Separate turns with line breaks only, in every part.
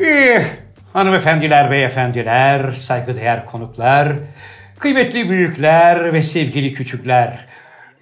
Eh, hanımefendiler, beyefendiler, saygıdeğer konuklar, kıymetli büyükler ve sevgili küçükler.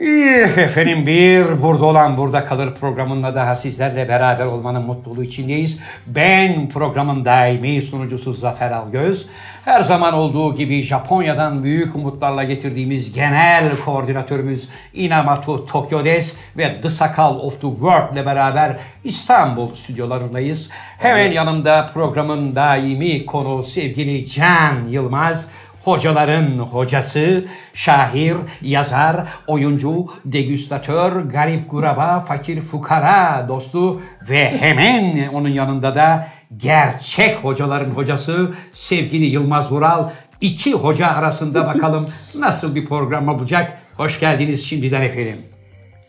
Eh, efendim bir Burada Olan Burada Kalır programında daha sizlerle beraber olmanın mutluluğu içindeyiz. Ben programın daimi sunucusu Zafer Algöz. Her zaman olduğu gibi Japonya'dan büyük umutlarla getirdiğimiz genel koordinatörümüz Inamatu Tokyodes ve The Sakal of the World ile beraber İstanbul stüdyolarındayız. Hemen yanımda programın daimi konu sevgili Can Yılmaz. Hocaların hocası, şair, yazar, oyuncu, degüstatör, garip guraba, fakir fukara dostu ve hemen onun yanında da gerçek hocaların hocası sevgili Yılmaz Vural. iki hoca arasında bakalım nasıl bir program olacak. Hoş geldiniz şimdiden efendim.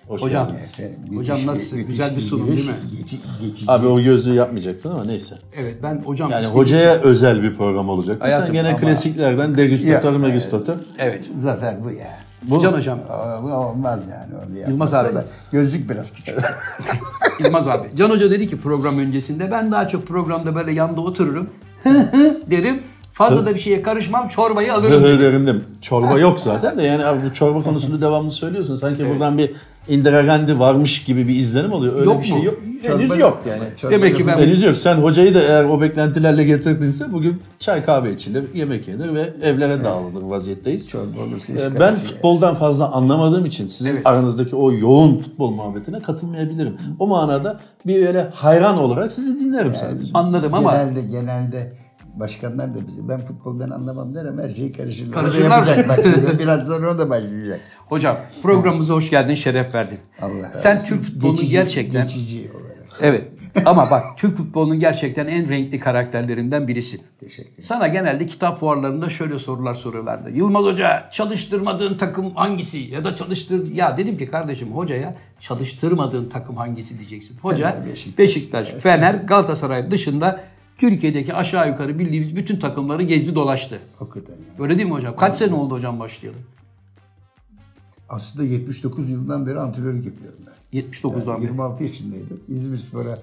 Hoş
Hocam,
geldiniz.
Hocam
Efendim, müthiş
nasıl?
müthiş
Güzel bir sunum
giriş,
değil mi?
Geçi, geçici.
Abi o gözlüğü yapmayacaktın ama neyse.
Evet ben hocam
Yani
işte-
hocaya özel bir program olacak.
Hayatım
Sen gene
ama-
klasiklerden degüstatör, megüstatör.
Evet.
Zafer bu ya.
Bu
Can hocam.
Aa, Bu olmaz yani. Öyle
Yılmaz
yapmak.
abi.
Tabii, Gözlük biraz küçük.
Yılmaz abi. Can Hoca dedi ki program öncesinde ben daha çok programda böyle yanda otururum. Hı hı derim. Fazla da bir şeye karışmam çorbayı
Hı
alırım.
hı derim de Çorba yok zaten de yani abi bu çorba konusunu devamlı söylüyorsun. Sanki buradan bir Indira Gandhi varmış gibi bir izlenim oluyor. Öyle
Yok
bir şey
mu?
yok.
Çorba
Henüz yok yani.
Çorba
Demek ki
yok.
ben
Henüz yok. Sen hocayı da eğer o beklentilerle getirdinse bugün çay kahve içilir, yemek yenir ve evlere dağılır vaziyetteyiz.
Çorba olursa
Ee,
hiç
Ben
karışmıyor.
futboldan fazla anlamadığım için sizin aranızdaki o yoğun futbol muhabbetine katılmayabilirim. O manada bir öyle hayran olarak sizi dinlerim sadece.
anladım ama
Genelde, genelde başkanlar da bizi ben futboldan anlamam der ama her şeyi karışırlar.
Karışırlar mı?
Yapacak bak, şimdi biraz sonra o da başlayacak.
hocam programımıza hoş geldin, şeref verdin.
Allah
Sen
razı
Türk
olsun.
futbolunu
Geçici-
gerçekten
Geçici olarak.
Evet. Ama bak Türk futbolunun gerçekten en renkli karakterlerinden birisi.
Teşekkür ederim.
Sana genelde kitap fuarlarında şöyle sorular soruyorlardı. Yılmaz Hoca çalıştırmadığın takım hangisi? Ya da çalıştır... Ya dedim ki kardeşim hocaya çalıştırmadığın takım hangisi diyeceksin. Hoca
Fener,
Beşiktaş,
Beşiktaş.
Fener, Galatasaray dışında Türkiye'deki aşağı yukarı bildiğimiz bütün takımları gezdi dolaştı.
O kadar yani.
Öyle değil mi hocam? Kaç sene oldu hocam başlayalım?
Aslında 79 yılından beri antrenörlük yapıyorum ben.
79'dan beri.
26 yaşındaydım. İzmir Spor'a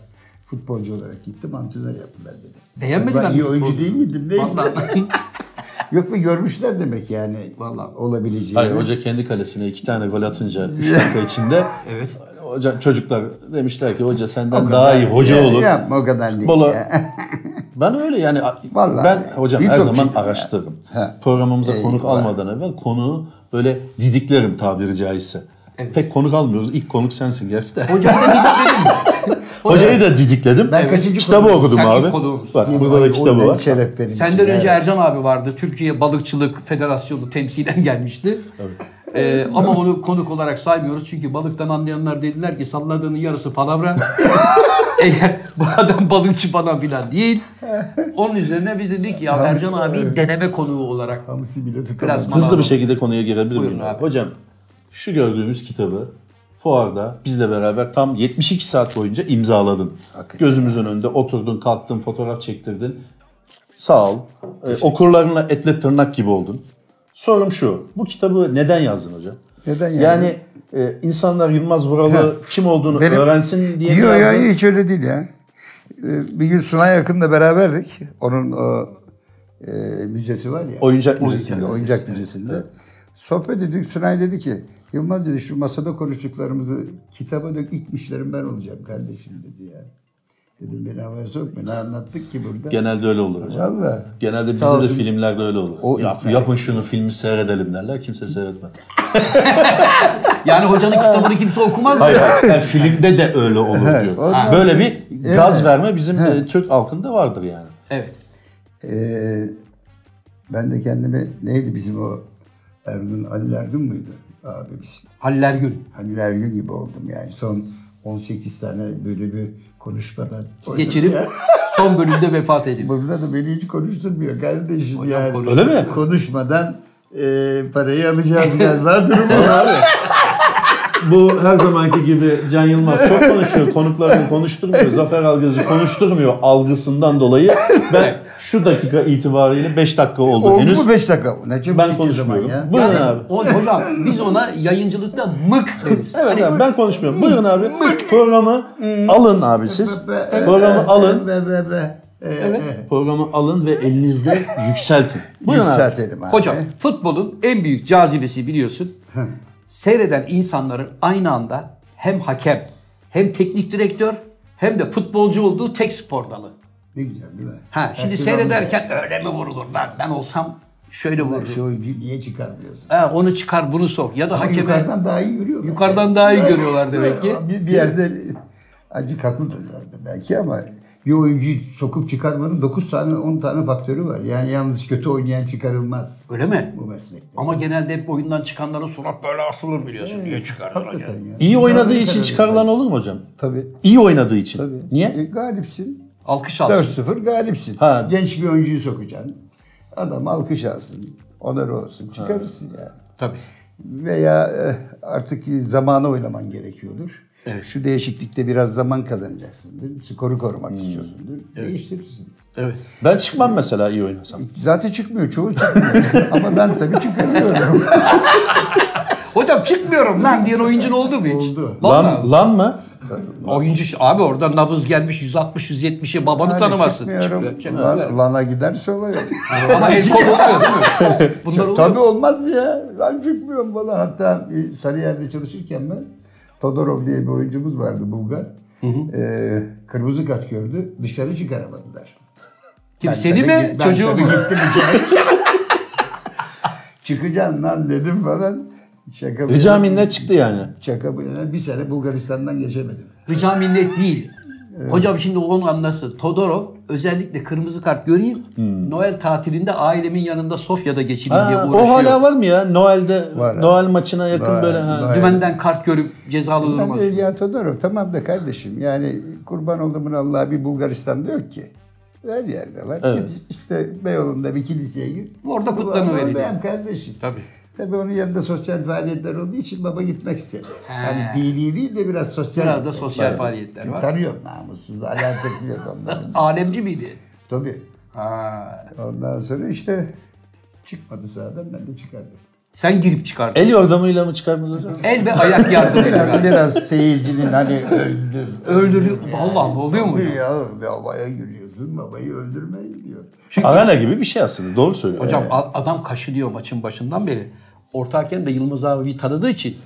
futbolcu olarak gittim. Antrenör yaptılar beni.
Beğenmediler
Ben
mi
iyi
futbolcu?
oyuncu değil miydim? Neydim?
Vallahi.
Yok mu görmüşler demek yani.
Vallahi.
Olabileceğini.
Hayır hoca kendi kalesine iki tane gol atınca 3 dakika içinde
Evet.
hoca, çocuklar demişler ki hoca senden
O
daha
kadar
iyi hoca
ya.
olur.
Yapma o kadar değil.
Futbola-
ya.
Ben öyle yani a-
Vallahi
ben hocam
bir
her
top
zaman
çıktı ya.
araştırırım.
Ha.
Programımıza
Eyvah.
konuk almadan evvel konuğu böyle didiklerim tabiri caizse.
Evet.
Pek konuk almıyoruz. İlk konuk sensin gerçi de.
Hocam da dedim mi?
Hocayı da didikledim.
Ben kaçıncı
Kitabı
konuğum?
okudum
Sen ilk
abi.
konuğumuzsun.
Bak burada
Ay,
da
o
kitabı
ne
var.
Şeref benim için,
Senden önce
evet.
Ercan abi vardı. Türkiye Balıkçılık Federasyonu temsilen gelmişti. Ee, ama onu konuk olarak saymıyoruz. Çünkü balıktan anlayanlar dediler ki salladığının yarısı palavra. Eğer bu adam balıkçı falan filan değil. Onun üzerine biz dedik ya Ercan abi deneme konuğu olarak.
Hamsi bile tutamadım.
Biraz
Hızlı bir
malalım.
şekilde konuya girebilir
Buyurun
miyim?
abi.
Hocam şu gördüğümüz kitabı fuarda bizle beraber tam 72 saat boyunca imzaladın.
Hakikaten.
Gözümüzün önünde oturdun, kalktın, fotoğraf çektirdin. Sağ ol. Ee, okurlarına etle tırnak gibi oldun. Sorum şu. Bu kitabı neden yazdın hocam?
Neden
yani?
yazdım?
Yani e, insanlar Yılmaz Vural'ı kim olduğunu
Benim-
öğrensin diye mi
Yok
yazdın?
yok hiç öyle değil ya. Ee, Bir gün Sunay Akın'la beraberdik. Onun o e, müzesi var ya.
Oyuncak müzesinde.
Oyuncak müzesinde. Sohbet ettik. Sunay dedi ki Yılmaz dedi şu masada konuştuklarımızı kitaba dök ilk işlerim ben olacağım kardeşim dedi ya. Dedim beni havaya sokma. Ne anlattık ki burada?
Genelde öyle olur hocam.
Vallahi.
Genelde
Sağ
bize de
olsun.
filmlerde öyle olur.
O-
Yap- yapın şunu filmi seyredelim derler. Kimse seyretmez.
Yani hocanın kitabını kimse okumaz mı?
Hayır, hayır. Yani filmde de öyle olur diyor.
ondan
Böyle
sonra-
bir gaz verme bizim e, Türk halkında vardır yani.
Evet.
Ee, ben de kendimi neydi bizim o Ergun Ali Ergun muydu abimiz?
Haller Gün.
Halil Ergün gibi oldum yani. Son 18 tane bölümü konuşmadan.
Geçirip
oynadım
son bölümde vefat
ya.
edildi.
Burada da beni hiç konuşturmuyor kardeşim
Hocam
yani.
konuşturmuyor.
Öyle mi?
Konuşmadan e, parayı alacağız galiba durumu var.
Bu her zamanki gibi Can Yılmaz çok konuşuyor. Konuklarını konuşturmuyor. Zafer Algöz'ü konuşturmuyor algısından dolayı. Ben şu dakika itibariyle 5 dakika oldu
Oldu
henüz.
mu 5 dakika? Ne çabuk
Ben
geçiyor zaman
konuşmuyorum.
ya.
Buyurun
Yani
abi.
o- hocam biz ona yayıncılıkta mık deriz.
Hani
Evet abi ben konuşmuyorum. Buyurun abi. Programı alın abi siz.
Hmm. Be- be-
Programı
be-
alın.
Be, be, be.
Programı alın ve elinizde yükseltin. Buyurun abi.
Yükseltelim abi.
Hocam futbolun en büyük cazibesi biliyorsun. Seyreden insanların aynı anda hem hakem hem teknik direktör hem de futbolcu olduğu tek spor dalı.
Ne güzel değil mi?
Ha, şimdi
Herkes
seyrederken öyle mi vurulur ben, ben olsam şöyle
anlıyor.
vururum.
Şu oyuncuyu niye çıkarmıyorsun?
Ha, onu çıkar bunu sok ya da
Ama
hakeme
yukarıdan daha iyi görüyorlar.
Yukarıdan daha iyi görüyorlar demek ki.
Bir, bir yerde acık haklıdırlar da belki ama bir oyuncuyu sokup çıkarmanın 9 tane 10 tane faktörü var. Yani yalnız kötü oynayan çıkarılmaz
öyle mi?
bu meslekte.
Ama genelde hep oyundan çıkanların surat böyle asılır biliyorsun. Niye çıkardılar
Hakikaten
acaba?
ya.
İyi oynadığı için çıkarılan olur mu hocam?
Tabii.
İyi oynadığı için.
Tabii.
Niye?
E, galipsin.
Alkış alsın.
4-0 galipsin.
Ha.
Genç bir oyuncuyu sokacaksın. Adam alkış alsın. Onar olsun. Çıkarırsın yani.
Tabii.
veya e, artık zamana oynaman gerekiyordur. Şu değişiklikte biraz zaman kazanacaksındır. Skoru
Hmm.
korumak istiyorsundur. Değiştirirsin.
Evet.
Ben çıkmam mesela iyi oynasam.
Zaten çıkmıyor. Çoğu çıkmıyor. Ama ben tabii çıkarıyorum.
Hocam çıkmıyorum lan diyen oyuncun oldu mu hiç?
Oldu.
Vallahi.
Lan, lan mı?
Oyuncu ş- abi orada nabız gelmiş 160 170'e babanı
Hani
tanımazsın.
çıkmıyorum.
Çıkıyor, çıkıyor.
Lan, lana giderse oluyor.
Ama el kol oluyor değil mi? Bunlar oluyor.
tabii olmaz mı ya? Ben çıkmıyorum falan. Hatta bir Sarıyer'de çalışırken ben Todorov diye bir oyuncumuz vardı Bulgar. Ee, kırmızı kart gördü. Dışarı çıkaramadılar.
Kim
Ben
seni
tabii
mi
git- ben
çocuğu
tabii
mu?
gittim içeri. Çıkacaksın lan dedim falan. Şaka bir
Rica minnet çıktı yani.
Şaka bu yana bir sene Bulgaristan'dan geçemedim.
Rica minnet değil. Hocam şimdi onu anlasın. Todorov özellikle kırmızı kart göreyim. Noel tatilinde ailemin yanında Sofya'da geçireyim diye
Hmm. Ha,
uğraşıyor.
o hala var mı ya? Noel'de,
Var abi.
Noel maçına yakın
Var,
böyle. Ha.
var.
Dümenden kart görüp cezalı durmaz.
Ben de ya Todorov tamam da kardeşim yani kurban olduğumun Allah'a bir Bulgaristan'da yok ki. Her yerde var.
Evet.
Git işte Beyoğlu'nda bir kiliseye gir.
Orada
Baba,
kutlanıveriliyor.
Oradayım kardeşim.
Tabii.
Tabii onun yanında sosyal faaliyetler olduğu için baba gitmek istedi. Hani dini değil de biraz sosyal.
Biraz da sosyal faaliyetler var.
Tanıyorum namussuz. Alakası yok onların.
Alemci miydi?
Tabii.
Ha.
Ondan sonra işte çıkmadı sahadan ben de çıkardım.
Sen girip çıkardın.
El yordamıyla mı çıkarmadın hocam?
El ve ayak yardımıyla.
Biraz,
galiba.
biraz seyircinin hani öldü.
Öldürüyor. Vallahi oluyor mu?
Öldü ya babaya gülüyorsun babayı öldürmeyin diyor.
Arana gibi bir şey aslında. Doğru söylüyor.
Hocam a- adam kaşınıyor maçın başından beri. Orta hakem de Yılmaz abi tanıdığı için.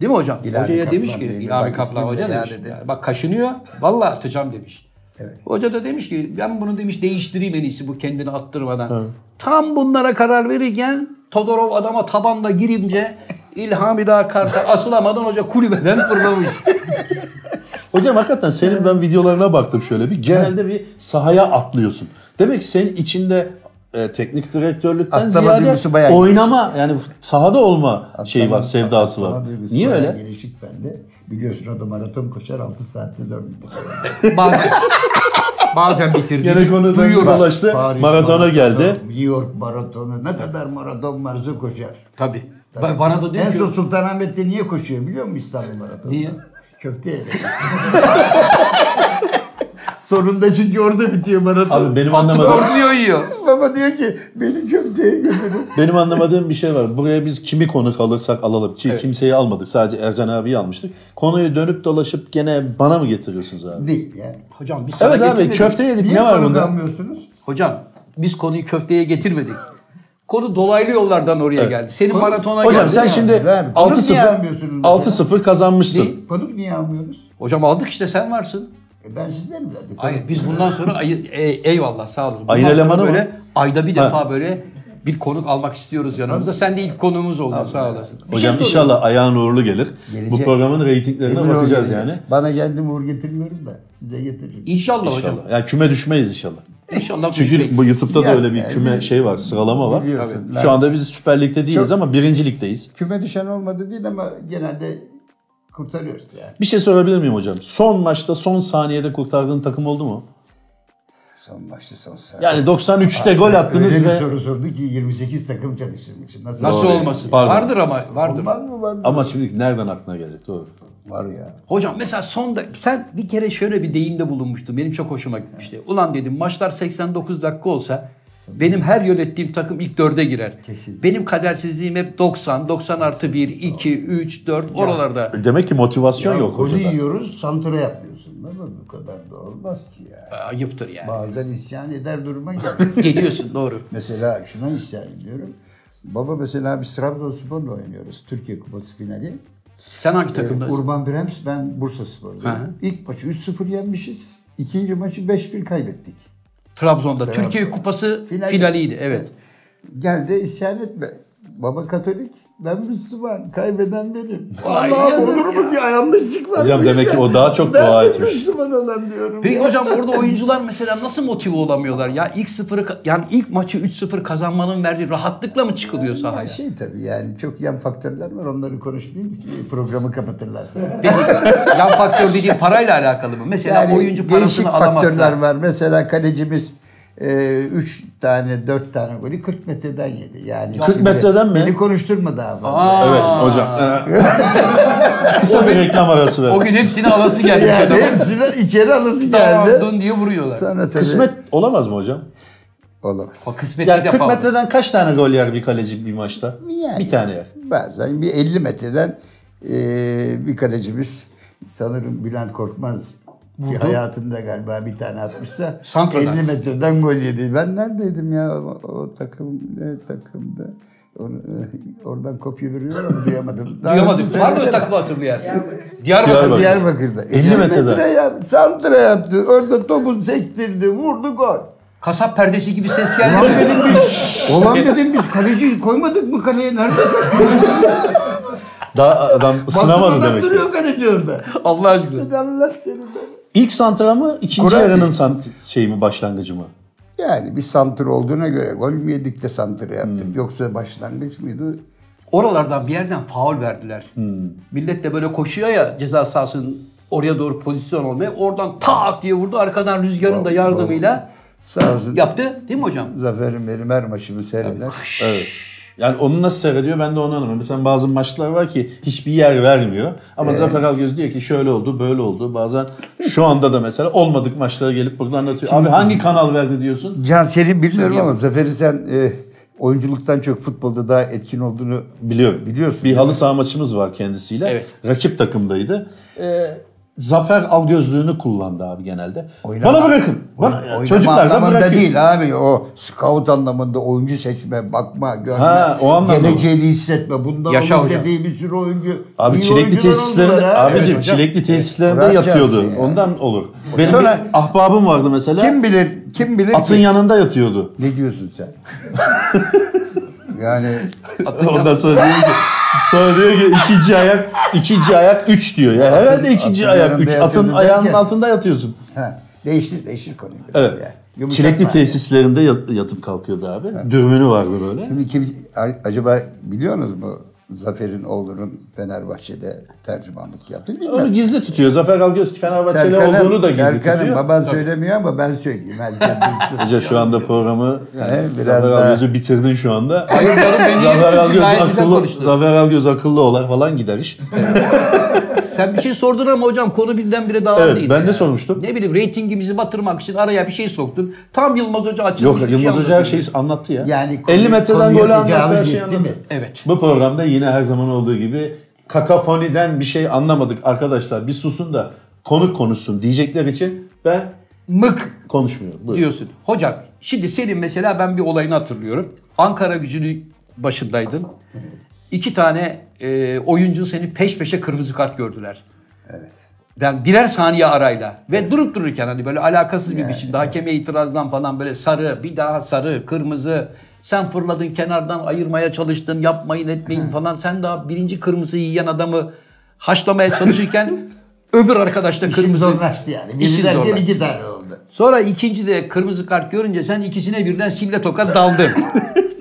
Değil mi hocam?
İlhan
Hocaya
Kaplan
demiş ki,
değil mi?
İlhan
Bak
Kaplan
ismini
hoca
de
demiş.
iade
yani bak kaşınıyor, vallahi atacağım demiş.
Evet.
Hoca da demiş ki ben bunu demiş değiştireyim en iyisi bu kendini attırmadan. Tam bunlara karar verirken Todorov adama tabanla girince İlhami daha karta asılamadan hoca kulübeden fırlamış.
Hocam hakikaten senin ben videolarına baktım şöyle bir. Genelde bir sahaya atlıyorsun. Demek ki senin içinde e, teknik direktörlükten
Atlama duygusu
ziyade
bayağı geniş.
oynama yani sahada olma şeyi Şey var,
Atlama-
sevdası var.
atlama duygusu
Niye
bayağı
öyle?
Gelişik bende. Biliyorsun o da maraton koşar 6 saatte 4
Bazen bazen bitirdi.
Gene konudan
Duyuyoruz.
dolaştık. İşte maratona geldi.
New York maratonu ne kadar maraton varsa koşar.
Tabii. Ba- Bana da diyor
En
ki
son Sultanahmet'te niye koşuyor biliyor musun İstanbul Maratonu?
Niye?
Köfte yedim. Sonunda çünkü orada bitiyor maraton.
Abi benim anlamadığım,
porsiyon yiyor.
Baba diyor ki beni köfteye götürün.
benim anlamadığım bir şey var. Buraya biz kimi konuk alırsak alalım ki kimseyi almadık. Sadece Ercan abiyi almıştık. Konuyu dönüp dolaşıp gene bana mı getiriyorsunuz abi?
Değil yani.
Hocam biz sana
Evet abi
getirmedik.
köfte yedik
Niye
ne var
konuk
bunda?
almıyorsunuz?
Hocam biz konuyu köfteye getirmedik. Konu dolaylı yollardan oraya geldi. Senin maratona
Hocam
geldi.
sen
ya.
şimdi
Abi, konuk niye
6-0
almıyorsunuz mesela? şey
6-0 kazanmışsın.
Konuk niye almıyorsunuz?
Hocam aldık işte sen varsın.
E ben sizden mi zaten?
Hayır biz bundan sonra ayı- e- eyvallah sağ olun. Bundan
Ayın
sonra
elemanı mı?
böyle ayda bir defa böyle bir konuk almak istiyoruz yanımıza. Sen de ilk konuğumuz oldun sağ olasın.
Hocam inşallah ayağın uğurlu gelir.
Gelecek.
Bu programın reytinglerine
Emin ol
bakacağız
gelecek.
yani.
Bana geldim uğur getirmiyorum da size getiririm.
İnşallah, hocam.
İnşallah. Yani küme düşmeyiz inşallah.
İnşallah. şey
Çünkü bu YouTube'da da
Ya,
öyle bir küme şey var, sıralama var.
Biliyorsun,
Tabii.
ben-
Şu anda biz Süper Lig'de değiliz ama birinci ligdeyiz.
Küme düşen olmadı değil ama genelde kurtarıyoruz yani.
Bir şey sorabilir miyim hocam? Son maçta son saniyede kurtardığın takım oldu mu?
Son başlı son saat.
Yani 93'te gol attınız
Öyle bir şey
ve
soru sordu ki 28 takım çalıştırmışım. Nasıl,
Nasıl
olur?
olmasın?
Pardon.
Vardır ama vardır.
Olmaz mı var mı?
ama şimdi nereden aklına gelecek? Doğru.
Var ya.
Hocam mesela son da sen bir kere şöyle bir deyimde bulunmuştun. Benim çok hoşuma gitmişti. Ulan dedim maçlar 89 dakika olsa benim her yönettiğim takım ilk dörde girer.
Kesin.
Benim kadersizliğim hep 90, 90 artı 1, 2, 3, 4 oralarda.
Demek ki motivasyon yok
golü
hocada.
yiyoruz, santra yapıyorsun. Değil mi? ama bu kadar da olmaz ki ya.
Ayıptır yani.
Bazen isyan eder duruma gelir.
Geliyorsun doğru.
mesela şuna isyan ediyorum. Baba mesela biz Trabzonspor'la oynuyoruz. Türkiye Kupası finali.
Sen hangi
Ee,
takımdaydın?
Urban Brems, ben Bursa Spor'dayım. İlk maçı 3-0 yenmişiz. İkinci maçı 5-1 kaybettik.
Trabzon'da. Türkiye Kupası
Finali.
finaliydi. Evet.
Gel de isyan etme. Baba Katolik, ben Müslüman, kaybeden benim.
Vay
Allah
canına
olur mu bir yanlışlık var.
Hocam
mı
demek ki
ya?
o daha çok
ben
dua
de
etmiş.
Müslüman olan diyorum.
Peki hocam orada oyuncular mesela nasıl motive olamıyorlar ya? İlk sıfırı ka- yani ilk maçı 3-0 kazanmanın verdiği rahatlıkla mı çıkılıyor
Ha,
sahaya?
şey tabii yani çok yan faktörler var onları konuşmayayım ki programı kapatırlarsa.
Peki yan faktör dediğin parayla alakalı mı? Mesela
Yani
oyuncu
değişik
parasını
faktörler
alamazsa.
var. Mesela kalecimiz 3 tane 4 tane golü 40 metreden yedi. Yani
40
şimdi
metreden mi?
Beni konuşturma daha fazla.
Evet hocam. Ee, Kısa bir reklam arası
O
ver.
gün hepsini alası gelmiş
Yani
adamın.
hepsine içeri alısı geldi.
Dağıldın diye vuruyorlar.
Sonra tabii
Kısmet olamaz mı hocam?
olamaz.
Bak kısmet
Yani
bir
40
defa.
metreden kaç tane gol yer bir kaleci bir maçta?
Yani
Bir tane yer.
Bazen bir 50 metreden e, bir kalecimiz sanırım Bülent Korkmaz ki hayatında galiba bir tane atmışsa
Santrodan.
50 metreden gol yedi. Ben neredeydim ya o, o takım ne takımda? Onu, e, oradan kopya veriyor ama duyamadım. Daha
Duyamadık.
önce
Var mı öyle
söyledi
takımı hatırlayan? Diyarbakır.
Diyarbakır.
Diyarbakır'da. 50,
50
metreden.
metreden.
ya, santra yaptı. Orada topu sektirdi. Vurdu gol.
Kasap perdesi gibi ses
Ulan
geldi mi?
dedim biz, ulan dedim biz kaleci koymadık mı kaleye? Nerede
Daha adam sınamadı
Baktım adam
demek ki.
duruyor kaleci orada.
Allah aşkına.
Dedi Allah seni be.
İlk santra mı, ikinci
Kural
yarının
değil.
sant- şey mi, başlangıcı mı?
Yani bir santır olduğuna göre gol mü yedik de santır yaptık.
Hmm.
Yoksa başlangıç mıydı?
Oralardan bir yerden faul verdiler. Millet de böyle koşuyor ya ceza sahasının oraya doğru pozisyon olmaya. Oradan tak diye vurdu. Arkadan rüzgarın da yardımıyla
Sağ olsun.
yaptı. Değil mi hocam?
Zafer'in benim her maçımı seyreder.
Evet. Yani onu nasıl seyrediyor ben de onu anlamadım. Mesela bazı maçlar var ki hiçbir yer vermiyor. Ama Zafer Algöz diyor ki şöyle oldu, böyle oldu. Bazen şu anda da mesela olmadık maçlara gelip burada anlatıyor. Abi hangi kanal verdi diyorsun?
Can seni bilmiyorum ama Zafer'i sen e, oyunculuktan çok futbolda daha etkin olduğunu
Biliyorum.
Biliyorsun,
Bir
değil
halı saha maçımız var kendisiyle.
Evet.
Rakip takımdaydı. Ee, Zafer Algözlüğünü kullandı abi genelde.
Oynama-
Bana bırakın. Bana,
Oynama
çocuklar da
anlamında
bırakın.
değil abi. O scout anlamında oyuncu seçme, bakma, görme,
Ha, o anlamda.
geleceğini hissetme. Bundan
Yaşa
olur
hocam.
dediği bir sürü oyuncu.
Abi
iyi
çilekli
oyuncular
tesislerinde
oldular ha.
abicim
Evet hocam.
çilekli tesislerinde
Bırak
yatıyordu.
yapsın ya.
Ondan olur. Benim
Sonra-
bir ahbabım vardı mesela.
Kim bilir, kim bilir
Atın
ki?
yanında yatıyordu.
Ne diyorsun sen? yani
Ondan sonra diyor ki, sonra diyor ki ikinci ayak, ikinci ayak üç diyor. Ya herhalde ikinci
atın
ayak
yanında
üç. Atın
yatıyordu
ayağının
derken-
altında yatıyorsun.
ha, değiştir, değiştir konuyu. biraz
Evet.
ya. Yumuşak
Çilekli
var.
tesislerinde yat- yatıp kalkıyordu abi. Dürmünü vardı böyle.
Şimdi kim, a- acaba biliyorsunuz mu Zafer'in oğlunun Fenerbahçe'de tercümanlık yaptığını
Onu
bilmez.
gizli tutuyor. Zafer Algöz Fenerbahçeli
Serkan'ım-
olduğunu da gizli
Serkan'ım
tutuyor.
baban söylemiyor ama ben söyleyeyim. Herkes duysun.
Hoca şu anda programı yani
He, biraz
Zafer
daha-
Algöz'ü bitirdin şu anda.
Hayır canım beni
Zafer
yürüttün.
Algöz,
Gayet güzel
akıllı,
konuştun.
Zafer Algöz akıllı olar falan gider iş.
Sen bir şey sordun ama hocam konu birdenbire dağıldı.
Evet,
yine
ben ne
ya.
sormuştum?
Ne bileyim reytingimizi batırmak için araya bir şey soktun. Tam Yılmaz Hoca açılmış. bir
Yok
şey
Yılmaz Hoca her
anlatıyor.
şeyi anlattı ya.
Yani
50 metreden
konuya
golü anlattı her
tecavüz
şeyi
etti
anlattı.
mi?
Evet.
Bu programda yine her zaman olduğu gibi kakafoniden bir şey anlamadık arkadaşlar. Bir susun da konuk konuşsun diyecekler için ben
Mık
konuşmuyorum. Buyurun.
diyorsun. Hocam şimdi senin mesela ben bir olayını hatırlıyorum. Ankara gücünü başındaydın. İki tane e, oyuncu seni peş peşe kırmızı kart gördüler. Ben birer saniye arayla ve durup dururken hani böyle alakasız bir biçimde hakeme itirazdan falan böyle sarı, bir daha sarı, kırmızı. Sen fırladın kenardan ayırmaya çalıştın, yapmayın etmeyin falan. Sen daha birinci kırmızıyı yiyen adamı haşlamaya çalışırken öbür arkadaş da
İşim
kırmızı.
zorlaştı yani.
İşin
Biri derken
zorlaştı.
iki tane oldu.
Sonra ikinci de kırmızı kart görünce sen ikisine birden sille tokat daldın.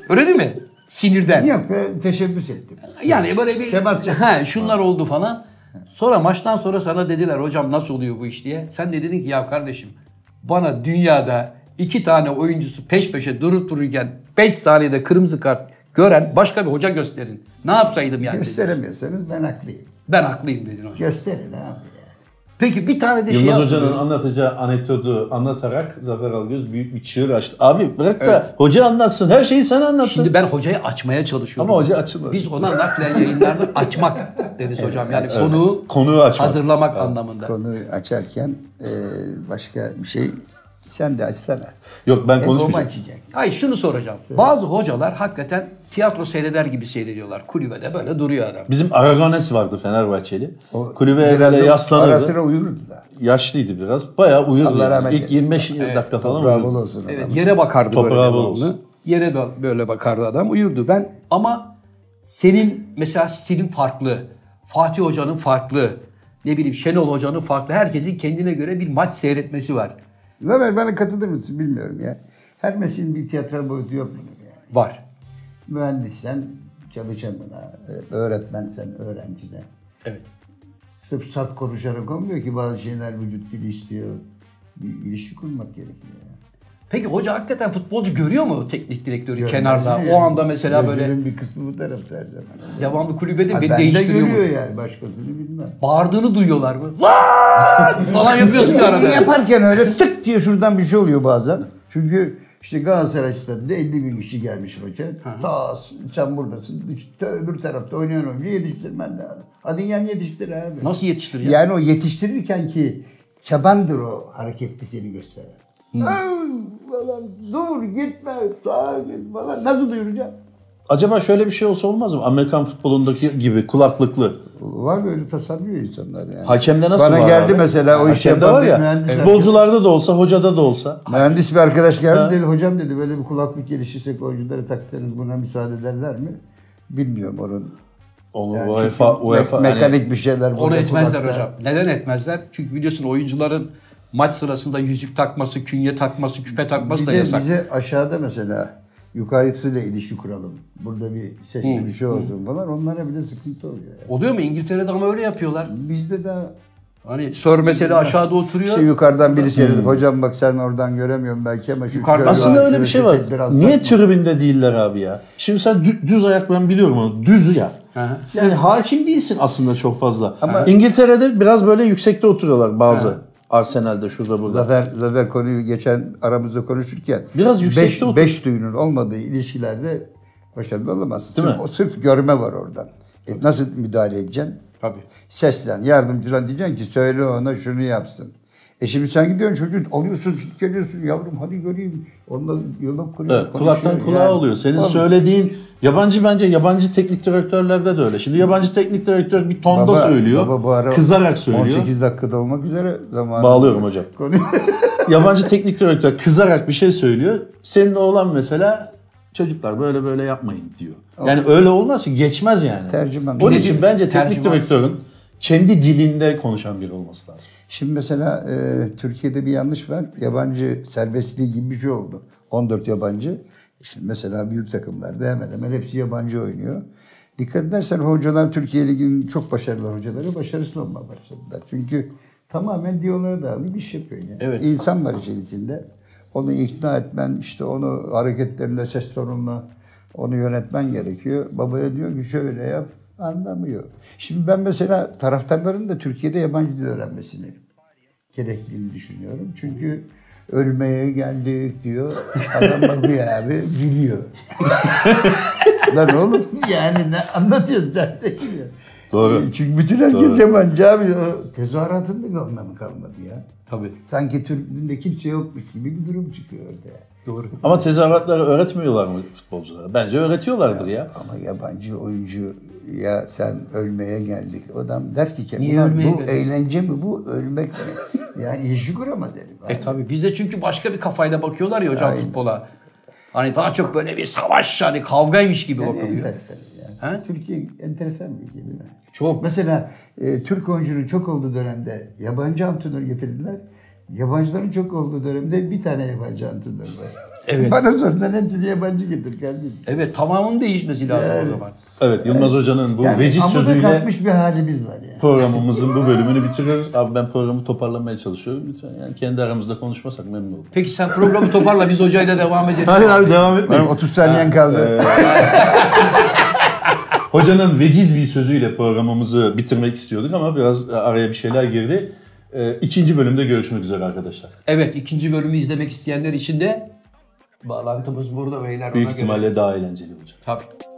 Öyle değil mi? Sinirden.
Yok ben teşebbüs ettim.
Yani böyle bir
Temas yok.
he, şunlar oldu falan. Sonra maçtan sonra sana dediler hocam nasıl oluyor bu iş diye. Sen de dedin ki ya kardeşim bana dünyada iki tane oyuncusu peş peşe durup dururken 5 saniyede kırmızı kart gören başka bir hoca gösterin. Ne yapsaydım yani? dedin.
Gösteremiyorsanız ben haklıyım.
Ben haklıyım dedin hocam.
Gösterin abi ya.
Peki bir tane de şey
Yılmaz
yaptı.
Hoca'nın anlatacağı anekdotu anlatarak Zafer Algöz büyük bir çığır açtı. Abi bırak da hoca anlatsın. Her şeyi sen anlattın.
Şimdi ben hocayı açmaya çalışıyorum.
Ama hoca açılmadı.
Biz ona naklen yayınlarını açmak deriz hocam. Yani konuğu
Konuyu açmak.
hazırlamak anlamında.
Konuyu açarken e, başka bir şey sen de açsana.
Yok ben
Hep o
konuşmayacağım.
açacak.
Hayır şunu soracağım. Bazı hocalar hakikaten tiyatro seyreder gibi seyrediyorlar. Kulübede böyle duruyor adam.
Bizim Aragones vardı Fenerbahçeli.
O
Kulübe
biraz
böyle
o
yaslanırdı.
Ara sıra uyurdu da.
Yaşlıydı biraz. Bayağı uyurdu.
Allah
yani.
rahmet
İlk
eylesin.
25 dakika falan
Bravo
uyurdu.
olsun
Evet,
adamın.
yere bakardı
Toprağa
böyle
bol
devamlı.
olsun.
Yere de böyle bakardı adam uyurdu. Ben ama senin mesela stilin farklı. Fatih Hoca'nın farklı. Ne bileyim Şenol Hoca'nın farklı. Herkesin kendine göre bir maç seyretmesi var.
Zafer bana katılır mısın bilmiyorum ya. Her mesleğin bir tiyatral boyutu yok bunun ya.
Var.
Mühendissen çalışanına, e, öğretmensen öğrencine.
Evet.
Sırf sat konuşarak olmuyor ki bazı şeyler vücut dili istiyor. Bir ilişki kurmak gerekiyor. ya.
Peki hoca hakikaten futbolcu görüyor mu teknik direktörü
Görmez
kenarda?
mi
O
yani?
anda mesela böyle
Gözünün bir kısmı bu tarafta her zaman.
devamlı kulübede
Ha,
beni
ben de
değiştiriyor mu?
görüyor yani başkasını bilmem.
Bağırdığını duyuyorlar mı? Lan! falan yapıyorsun ya
İyi
arada.
yaparken öyle tık diye şuradan bir şey oluyor bazen. Çünkü işte Galatasaray stadında 50 bin kişi gelmiş maça. Ta sen buradasın. dış- Ta öbür tarafta oynayan oyuncu yetiştirmen lazım. Hadi yan yetiştir abi.
Nasıl yetiştiriyor?
Yani o yetiştirirken ki çabandır o hareketli seni gösteren. Ay, Falan, dur gitme sağa git falan. Nasıl duyuracağım?
Acaba şöyle bir şey olsa olmaz mı? Amerikan futbolundaki gibi kulaklıklı.
Var böyle tasarlıyor insanlar yani.
Hakemde nasıl
Bana
var
geldi
abi?
mesela o işi
Hakemde
yapan
var
bir
ya. e,
mühendis.
Futbolcularda da olsa, hocada da olsa.
Mühendis bir arkadaş geldi dedi hocam dedi böyle bir kulaklık gelişirsek oyunculara taktığınız buna müsaade ederler mi? Bilmiyorum onun.
Onu
Yani
UEFA,
çünkü
UEFA hani
me-
yani-
mekanik bir şeyler.
Onu
burada
etmezler
kulakta.
hocam. Neden etmezler? Çünkü biliyorsun oyuncuların maç sırasında yüzük takması, künye takması, küpe takması
Bir
da
de
yasak.
bize aşağıda mesela yukarısıyla ilişki kuralım. Burada bir sesli bir şey olsun falan. Onlara bile sıkıntı oluyor. yani.
Oluyor mu? İngiltere'de ama öyle yapıyorlar.
Bizde daha
Hani Sör mesela aşağıda oturuyor.
işte yukarıdan birisi seyredip hocam bak sen oradan göremiyorum belki ama şu
Yukarıdan-
şöyle-
Aslında öyle bir
şöyle
şey var.
biraz
Niye
takma."
tribünde değiller abi ya? Şimdi sen dü- düz ayak ben biliyorum onu. Düz ya.
hı.
Yani hakim değilsin aslında çok fazla.
Ama-
İngiltere'de biraz böyle yüksekte oturuyorlar bazı. Arsenal'de şurada burada.
Zafer, Zafer konuyu geçen aramızda konuşurken
Biraz yüksekte
beş,
otur.
beş duyunun olmadığı ilişkilerde başarılı olamazsın.
Değil
sırf,
mi?
o sırf görme var oradan. E, nasıl müdahale edeceksin?
Tabii.
Seslen, yardımcıdan diyeceksin ki söyle ona şunu yapsın. E şimdi sen gidiyorsun çocuğu alıyorsun, geliyorsun yavrum hadi göreyim. Onunla yolak kuruyor.
Evet, kulaktan
konuşuyor
kulağa
yani.
oluyor. Senin
Tabii.
söylediğin yabancı bence yabancı teknik direktörlerde de öyle. Şimdi yabancı teknik direktör bir tonda
Baba-
söylüyor.
baba bu ara
kızarak söylüyor.
18 dakikada olmak üzere zamanı.
Bağlıyorum hocam.
Konuyu.
yabancı teknik direktör kızarak bir şey söylüyor. Senin oğlan mesela çocuklar böyle böyle yapmayın diyor. Yani öyle olmaz ki geçmez yani.
Tercüman.
Onun
Nedir?
için bence teknik
Tercüman.
direktörün kendi dilinde konuşan biri olması lazım.
Şimdi mesela e, Türkiye'de bir yanlış var. Yabancı serbestliği gibi bir şey oldu. 14 yabancı. Şimdi mesela büyük takımlarda hemen hemen hepsi yabancı oynuyor. Dikkat edersen hocalar Türkiye Ligi'nin çok başarılı hocaları başarısız olmaya başladılar. Çünkü tamamen diyaloğa dayalı bir iş yapıyor. Yani.
Evet.
İnsan var işin içinde. Onu ikna etmen, işte onu hareketlerle, ses tonunla onu yönetmen gerekiyor. Babaya diyor ki şöyle yap, anlamıyor. Şimdi ben mesela taraftarların da Türkiye'de yabancı dil öğrenmesini gerektiğini düşünüyorum. Çünkü ölmeye geldik diyor. Adam bakıyor abi gülüyor. Lan oğlum yani ne anlatıyorsun sen de gülüyor. E,
Doğru.
Çünkü bütün herkes yabancı abi. O Tezahüratın da bir anlamı kalmadı ya.
Tabii.
Sanki Türklüğünde kimse yokmuş gibi bir durum çıkıyor orada. ya.
Doğru.
Ama tezahüratları öğretmiyorlar mı futbolculara? Bence öğretiyorlardır ya.
Ama yabancı oyuncu ya sen ölmeye geldik. Adam der ki
Niye
"Ulan
ölmeye
bu
geldik?"
eğlence mi bu ölmek mi? yani ilişki kurama derim.
E tabii biz de çünkü başka bir kafayla bakıyorlar ya hocam futbola. Hani daha çok böyle bir savaş hani kavgaymış gibi
Yani
bakılıyor.
enteresan yani.
He?
Türkiye enteresan bir ülke değil mi?
Çok.
Mesela e, Türk oyuncunun çok olduğu dönemde yabancı antrenör getirdiler. Yabancıların çok olduğu dönemde bir tane yabancı antrenör var.
Evet.
Bana sorsan hepsini yabancı getir kardeşim.
Evet tamamının değişmesi lazım o zaman.
Evet Yılmaz Hoca'nın bu
Yani
veciz
amuda
sözüyle
kalkmış bir halimiz var yani.
programımızın bu bölümünü bitiriyoruz. Abi ben programı toparlamaya çalışıyorum. Lütfen yani kendi aramızda konuşmasak memnun olurum.
Peki sen programı toparla biz hocayla devam edelim.
Hayır abi devam etme.
Benim 30 saniyen kaldı.
Hocanın veciz bir sözüyle programımızı bitirmek istiyorduk ama biraz araya bir şeyler girdi. Ee, ikinci bölümde görüşmek üzere arkadaşlar.
Evet ikinci bölümü izlemek isteyenler için de bağlantımız burada beyler. ona
Büyük
göre.
ihtimalle daha eğlenceli olacak.
Tabii.